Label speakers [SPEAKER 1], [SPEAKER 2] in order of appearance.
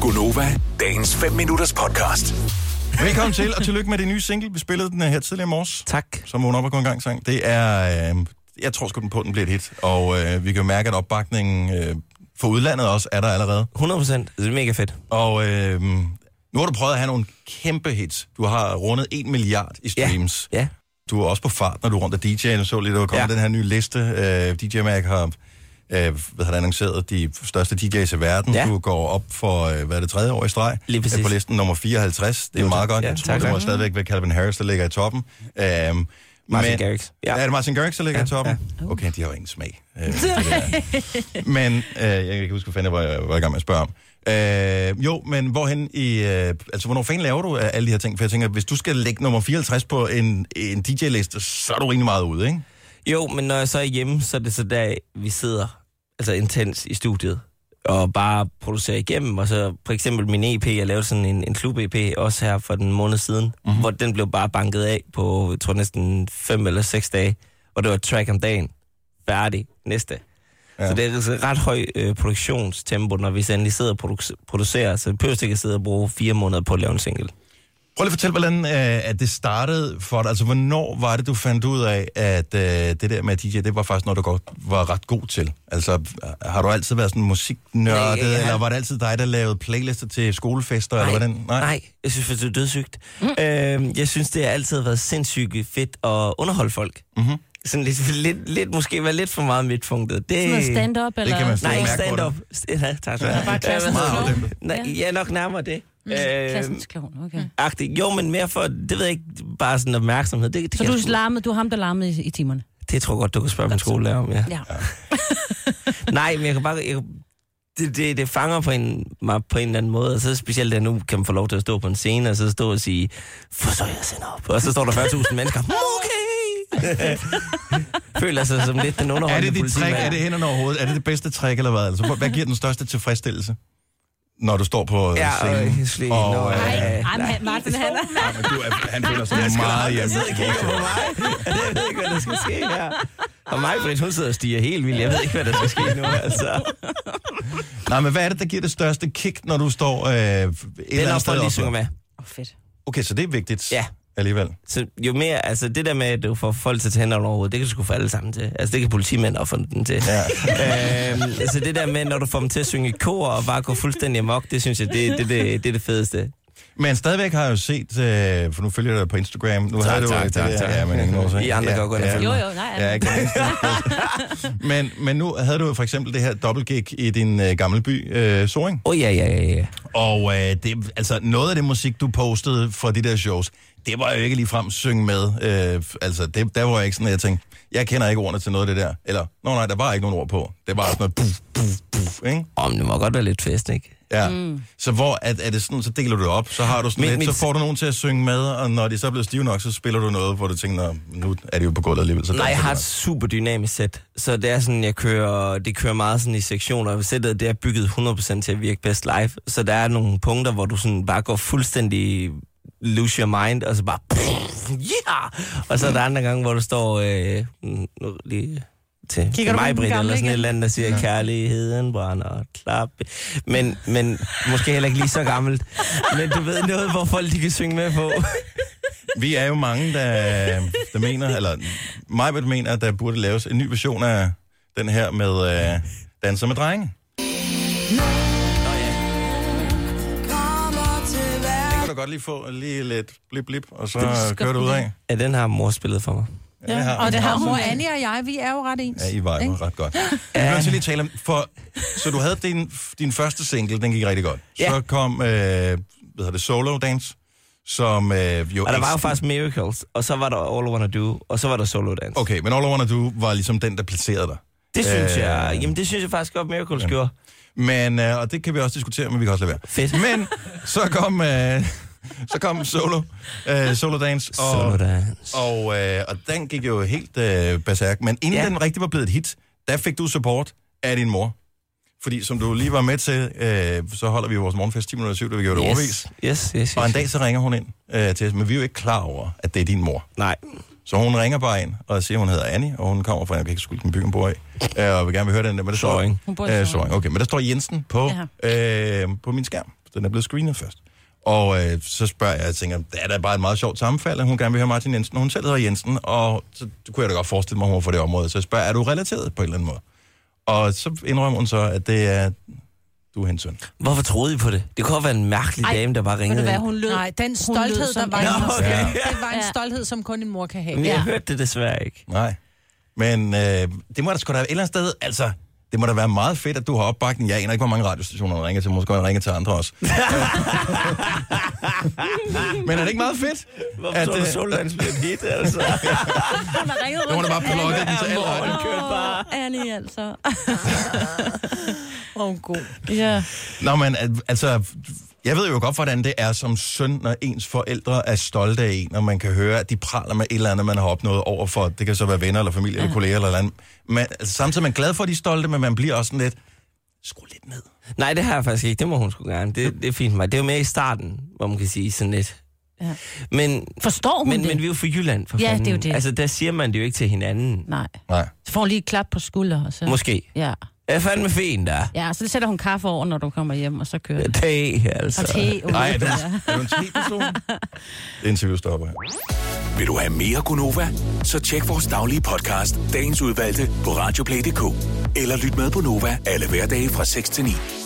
[SPEAKER 1] Gunova, dagens 5 minutters podcast.
[SPEAKER 2] Velkommen til, og tillykke med det nye single. Vi spillede den øh, her tidligere i morges,
[SPEAKER 3] Tak.
[SPEAKER 2] som vågner op og går en gang sang. Det er, øh, jeg tror sgu den på, den bliver et hit. Og øh, vi kan jo mærke, at opbakningen øh, for udlandet også er der allerede.
[SPEAKER 3] 100 procent. Det er mega fedt.
[SPEAKER 2] Og øh, nu har du prøvet at have nogle kæmpe hits. Du har rundet 1 milliard i streams.
[SPEAKER 3] Ja.
[SPEAKER 2] Du er også på fart, når du er rundt af DJ'en. Jeg så lige, der var kommet ja.
[SPEAKER 3] Ja.
[SPEAKER 2] den her nye liste. Øh, DJ Mag har, øh, hvad har det annonceret de største DJ's i verden.
[SPEAKER 3] Ja.
[SPEAKER 2] Du går op for, øh, hvad er det, tredje år i streg?
[SPEAKER 3] Lige præcis.
[SPEAKER 2] Er På listen nummer 54. Det er
[SPEAKER 3] Jo,
[SPEAKER 2] meget
[SPEAKER 3] tak.
[SPEAKER 2] godt.
[SPEAKER 3] Ja,
[SPEAKER 2] Jeg tror,
[SPEAKER 3] tak,
[SPEAKER 2] det må
[SPEAKER 3] tak.
[SPEAKER 2] stadigvæk være Calvin Harris, der ligger i toppen. Øh, Martin
[SPEAKER 3] Martin Garrix.
[SPEAKER 2] Ja.
[SPEAKER 3] Ja.
[SPEAKER 2] Er det Martin Garrix, der ligger ja, i toppen? Ja. Okay, de har jo ingen smag. Øh, det der. men øh, jeg kan ikke huske, hvad fanden jeg var, var i gang med at spørge om. Øh, jo, men hvorhen i... Øh, altså, hvornår fanden laver du øh, alle de her ting? For jeg tænker, hvis du skal lægge nummer 54 på en, en DJ-liste, så er du rimelig meget ude, ikke?
[SPEAKER 3] Jo, men når jeg så er hjemme, så er det så der, vi sidder altså intens i studiet og bare producerer igennem. Og så for eksempel min EP, jeg lavede sådan en, en klub-EP også her for den måned siden, mm-hmm. hvor den blev bare banket af på, jeg tror næsten fem eller seks dage. Og det var et track om dagen. Færdig. Næste. Ja. Så det er altså ret høj øh, produktionstempo, når vi så endelig sidder og produc- producerer. Så vi behøver ikke at sidde og bruge fire måneder på at lave en single.
[SPEAKER 2] Prøv lige at fortælle, hvordan øh, at det startede for dig. Altså, hvornår var det, du fandt ud af, at øh, det der med DJ, det var faktisk noget, du godt var ret god til? Altså, øh, har du altid været sådan musiknørdet,
[SPEAKER 3] Nej, jeg har-
[SPEAKER 2] eller var det altid dig, der lavede playlister til skolefester, eller hvordan?
[SPEAKER 3] Nej. nej, jeg synes faktisk, det er dødssygt. Mm. Øh, jeg synes, det har altid været sindssygt fedt at underholde folk. Mm-hmm. Sådan lidt, lidt, lidt, måske være lidt for meget midtpunktet. Det,
[SPEAKER 4] Noget stand-up, eller?
[SPEAKER 2] Øh, kan man
[SPEAKER 3] Nej, ikke
[SPEAKER 2] Mærke på
[SPEAKER 3] stand-up. Ja, tak skal du have.
[SPEAKER 4] Bare klassens
[SPEAKER 2] Meget
[SPEAKER 4] klovn.
[SPEAKER 2] afdæmpet.
[SPEAKER 3] Nej, ja, nok nærmere det. Mm.
[SPEAKER 4] Klassens klovn, okay.
[SPEAKER 3] agtigt. Jo, men mere for, det ved jeg ikke, bare sådan opmærksomhed. Det, det,
[SPEAKER 4] Så
[SPEAKER 3] kan
[SPEAKER 4] du,
[SPEAKER 3] jeg sgu-
[SPEAKER 4] larmede, du er ham, der larmede i, i timerne?
[SPEAKER 3] det tror jeg godt, du kan spørge min skolelærer om, ja.
[SPEAKER 4] Ja.
[SPEAKER 3] Nej, men jeg kan bare... Jeg, kan- det, det, det fanger på en, mig på en eller anden måde, og så specielt, at nu kan man få lov til at stå på en scene, og så stå og sige, for så jeg sender op. Og så står der 40.000 mennesker, okay! Føler sig som lidt den
[SPEAKER 2] Er
[SPEAKER 3] underholdende
[SPEAKER 2] det dit trick?
[SPEAKER 3] politimand.
[SPEAKER 2] Er det hænderne overhovedet? Er det det bedste trick, eller hvad? Altså, hvor- hvad giver den største tilfredsstillelse, når du står på øh,
[SPEAKER 3] Ja,
[SPEAKER 2] scenen?
[SPEAKER 3] øh, slik,
[SPEAKER 2] Og,
[SPEAKER 3] nå,
[SPEAKER 2] øh,
[SPEAKER 3] ja.
[SPEAKER 2] ej,
[SPEAKER 4] Ej, men Martin, han er...
[SPEAKER 2] men du er, han føler sig meget hjemme.
[SPEAKER 3] Jeg kigger på mig. Jeg ved ikke, hvad der skal ske her. Og mig, Britt, hun sidder og stiger helt vildt. Jeg ved ikke, hvad der skal ske nu, altså.
[SPEAKER 2] Nej, men hvad er det, der giver det største kick, når du står øh, et
[SPEAKER 3] Den
[SPEAKER 2] eller andet
[SPEAKER 3] er
[SPEAKER 2] sted?
[SPEAKER 3] lige
[SPEAKER 2] også?
[SPEAKER 3] synge med.
[SPEAKER 4] Åh, fedt.
[SPEAKER 2] Okay, så det er vigtigt
[SPEAKER 3] Ja.
[SPEAKER 2] alligevel.
[SPEAKER 3] Så jo mere, altså det der med, at du får folk til at tage hænderne over hovedet, det kan du sgu få alle sammen til. Altså det kan politimænd og få den til. Ja. øhm, altså det der med, når du får dem til at synge i kor og bare gå fuldstændig amok, det synes jeg, det, det, det, det er det fedeste.
[SPEAKER 2] Men stadigvæk har jeg jo set, øh, for nu følger jeg dig på Instagram. Nu
[SPEAKER 3] Tak,
[SPEAKER 2] havde du jo
[SPEAKER 3] tak,
[SPEAKER 2] det
[SPEAKER 3] tak,
[SPEAKER 2] der-
[SPEAKER 3] tak.
[SPEAKER 2] Ja, men ingen årsag.
[SPEAKER 3] I andre
[SPEAKER 2] ja,
[SPEAKER 3] kan godt gå ind og
[SPEAKER 2] ja.
[SPEAKER 3] følge
[SPEAKER 4] Jo, jo, nej.
[SPEAKER 2] Ja, ikke men, men nu havde du jo for eksempel det her dobbeltgig i din øh, gamle by, øh, Soring.
[SPEAKER 3] Åh oh, ja, ja, ja, ja.
[SPEAKER 2] Og øh, det, altså, noget af det musik, du postede fra de der shows, det var jo ikke ligefrem synge med. Øh, altså, det, der var jeg ikke sådan, at jeg tænkte, jeg kender ikke ordene til noget af det der. Eller, nå nej, der var ikke nogen ord på. Det var sådan noget buff, buff, buff, ikke?
[SPEAKER 3] Om det må godt være lidt fest, ikke?
[SPEAKER 2] Ja. Mm. Så hvor er, er det sådan, så deler du det op, så har du sådan
[SPEAKER 3] Mit-
[SPEAKER 2] lidt,
[SPEAKER 3] mit-
[SPEAKER 2] så får du nogen til at synge med, og når de så er blevet stive nok, så spiller du noget, hvor du tænker, "Nå, nu er de jo på gulvet alligevel. Så
[SPEAKER 3] Nej, jeg
[SPEAKER 2] danser
[SPEAKER 3] har
[SPEAKER 2] de
[SPEAKER 3] et super dynamisk sæt. Så det er sådan, jeg kører, det kører meget sådan i sektioner. Sættet det er bygget 100% til at virke bedst live. Så der er nogle punkter, hvor du sådan bare går fuldstændig lose your mind, og så bare... Yeah! Og så er der andre gange, hvor du står øh, nu lige til
[SPEAKER 4] Kigger du på den
[SPEAKER 3] mig, Britt,
[SPEAKER 4] gamle
[SPEAKER 3] eller sådan et
[SPEAKER 4] igen?
[SPEAKER 3] eller andet, der siger, ja. kærligheden brænder, klap. Men, men måske heller ikke lige så gammelt. Men du ved noget, hvor folk de kan synge med på.
[SPEAKER 2] Vi er jo mange, der, der mener, eller mig vil mener, at der burde laves en ny version af den her med øh, Danser med drenge. Det kan du godt lige få lige lidt blip blip, og så øh, kører du ud af.
[SPEAKER 3] Ja, den har mor spillet for mig.
[SPEAKER 2] Ja, det har
[SPEAKER 5] Og
[SPEAKER 2] vi.
[SPEAKER 5] det har mor Annie og jeg, vi er jo ret ens.
[SPEAKER 2] Ja, I var jo ret godt. Vi er nødt til lige at tale om, for, så du havde din, din første single, den gik rigtig godt. Ja. Så
[SPEAKER 3] Ja.
[SPEAKER 2] kom, øh, hvad hedder det, Solo Dance, som øh, jo...
[SPEAKER 3] Og der var jo
[SPEAKER 2] ikke-
[SPEAKER 3] faktisk Miracles, og så var der All I Wanna Do, og så var der Solo Dance.
[SPEAKER 2] Okay, men All I Wanna Do var ligesom den, der placerede dig.
[SPEAKER 3] Det synes
[SPEAKER 2] Øh,
[SPEAKER 3] øh, jeg, jamen det synes jeg faktisk godt, Miracles gjorde.
[SPEAKER 2] Men, øh, og det kan vi også diskutere, men vi kan også lade være.
[SPEAKER 3] Fedt.
[SPEAKER 2] Men så kom, øh, så kom Solo, øh, Solo Dance, og,
[SPEAKER 3] Solo Dance.
[SPEAKER 2] og, øh, og den gik jo helt øh, berserk. Men inden ja.
[SPEAKER 3] Ja.
[SPEAKER 2] den rigtig var blevet et hit, der fik du support af din mor. Fordi som du lige var med til, øh, så holder vi jo vores morgenfest 10 minutter 7, da vi gjorde det yes. overvis.
[SPEAKER 3] yes. yes, yes, yes.
[SPEAKER 2] Og en dag så ringer hun ind øh, til os, men vi er jo ikke klar over, at det er din mor.
[SPEAKER 3] Nej.
[SPEAKER 2] Så hun ringer bare ind og siger, at hun hedder Annie, og hun kommer fra, jeg kan ikke huske, den by hun bor i, øh, og vil gerne vil høre den der, men der står...
[SPEAKER 3] Sorry.
[SPEAKER 4] Hun bor i
[SPEAKER 2] Øh,
[SPEAKER 4] Sorring.
[SPEAKER 2] Sorring. Okay, men der står Jensen på, øh, på min skærm. Den er blevet screenet først. Og øh, så spørger jeg, og jeg tænker, det er da bare et meget sjovt sammenfald, at hun gerne vil høre Martin Jensen, og hun selv hedder Jensen, og så kunne jeg da godt forestille mig, at hun var fra det område. Så jeg spørger, er du relateret på en eller anden måde? Og så indrømmer hun så, at det er, du er hendes søn.
[SPEAKER 3] Hvorfor troede I på det? Det kunne godt være en mærkelig
[SPEAKER 4] Ej,
[SPEAKER 3] dame, der bare
[SPEAKER 4] Ved du
[SPEAKER 3] ringede
[SPEAKER 4] hvad,
[SPEAKER 3] ind.
[SPEAKER 4] hun lød?
[SPEAKER 5] Nej, den
[SPEAKER 4] hun lød
[SPEAKER 5] stolthed, der
[SPEAKER 4] som-
[SPEAKER 5] var i
[SPEAKER 4] Nå,
[SPEAKER 5] hendes
[SPEAKER 3] okay.
[SPEAKER 5] stemme, det var en
[SPEAKER 4] Ja.
[SPEAKER 5] stolthed, som kun en mor kan have.
[SPEAKER 3] Men jeg
[SPEAKER 4] Ja.
[SPEAKER 3] hørte det desværre ikke.
[SPEAKER 2] Nej. Men øh, det må da sgu da et eller andet sted, altså, det må da være meget fedt, at du har opbakning. Jeg aner ikke, hvor mange radiostationer der ringer til. Måske jeg ringer til andre også. Men er det ikke meget fedt?
[SPEAKER 3] Hvorfor tror
[SPEAKER 2] øh,
[SPEAKER 3] du, Solvans blev et hit, altså?
[SPEAKER 4] Hun har ringet
[SPEAKER 2] Nu er
[SPEAKER 4] rundt.
[SPEAKER 2] der bare plukket den til alle
[SPEAKER 3] Morgen
[SPEAKER 2] øjne.
[SPEAKER 3] kørte bare.
[SPEAKER 4] Åh, Annie altså.
[SPEAKER 5] Åh, oh, god.
[SPEAKER 4] Ja.
[SPEAKER 2] Nå, men al- altså, jeg ved jo godt, hvordan det er som søn, når ens forældre er stolte af en, og man kan høre, at de praler med et eller andet, man har opnået over for, det kan så være venner eller familie ja. eller kolleger eller et eller andet. Men altså, samtidig er man glad for, at de er stolte, men man bliver også sådan lidt, skru lidt ned.
[SPEAKER 3] Nej, det har jeg faktisk ikke. Det må hun sgu gerne. Det, det er fint for mig. Det er jo mere i starten, hvor man kan sige sådan lidt.
[SPEAKER 4] Ja.
[SPEAKER 3] Men,
[SPEAKER 4] Forstår hun
[SPEAKER 3] men,
[SPEAKER 4] det?
[SPEAKER 3] men vi er jo fra Jylland, for
[SPEAKER 4] Ja,
[SPEAKER 3] fanden.
[SPEAKER 4] det er jo det.
[SPEAKER 3] Altså, der siger man det jo ikke til hinanden.
[SPEAKER 4] Nej.
[SPEAKER 2] Nej.
[SPEAKER 4] Så får hun lige et klap på skulder, og så...
[SPEAKER 3] Måske.
[SPEAKER 4] Ja.
[SPEAKER 3] Jeg er fandme fin, der.
[SPEAKER 4] Ja, så sætter hun kaffe over, når du kommer hjem, og så kører det.
[SPEAKER 3] Dag, altså.
[SPEAKER 4] Og te.
[SPEAKER 2] Nej,
[SPEAKER 4] olie,
[SPEAKER 2] er du,
[SPEAKER 4] ja.
[SPEAKER 2] er du en te-person? Interview stopper her.
[SPEAKER 1] Vil du have mere Gunova? Så tjek vores daglige podcast, dagens udvalgte, på radioplay.dk. Eller lyt med på Nova alle hverdage fra 6 til 9.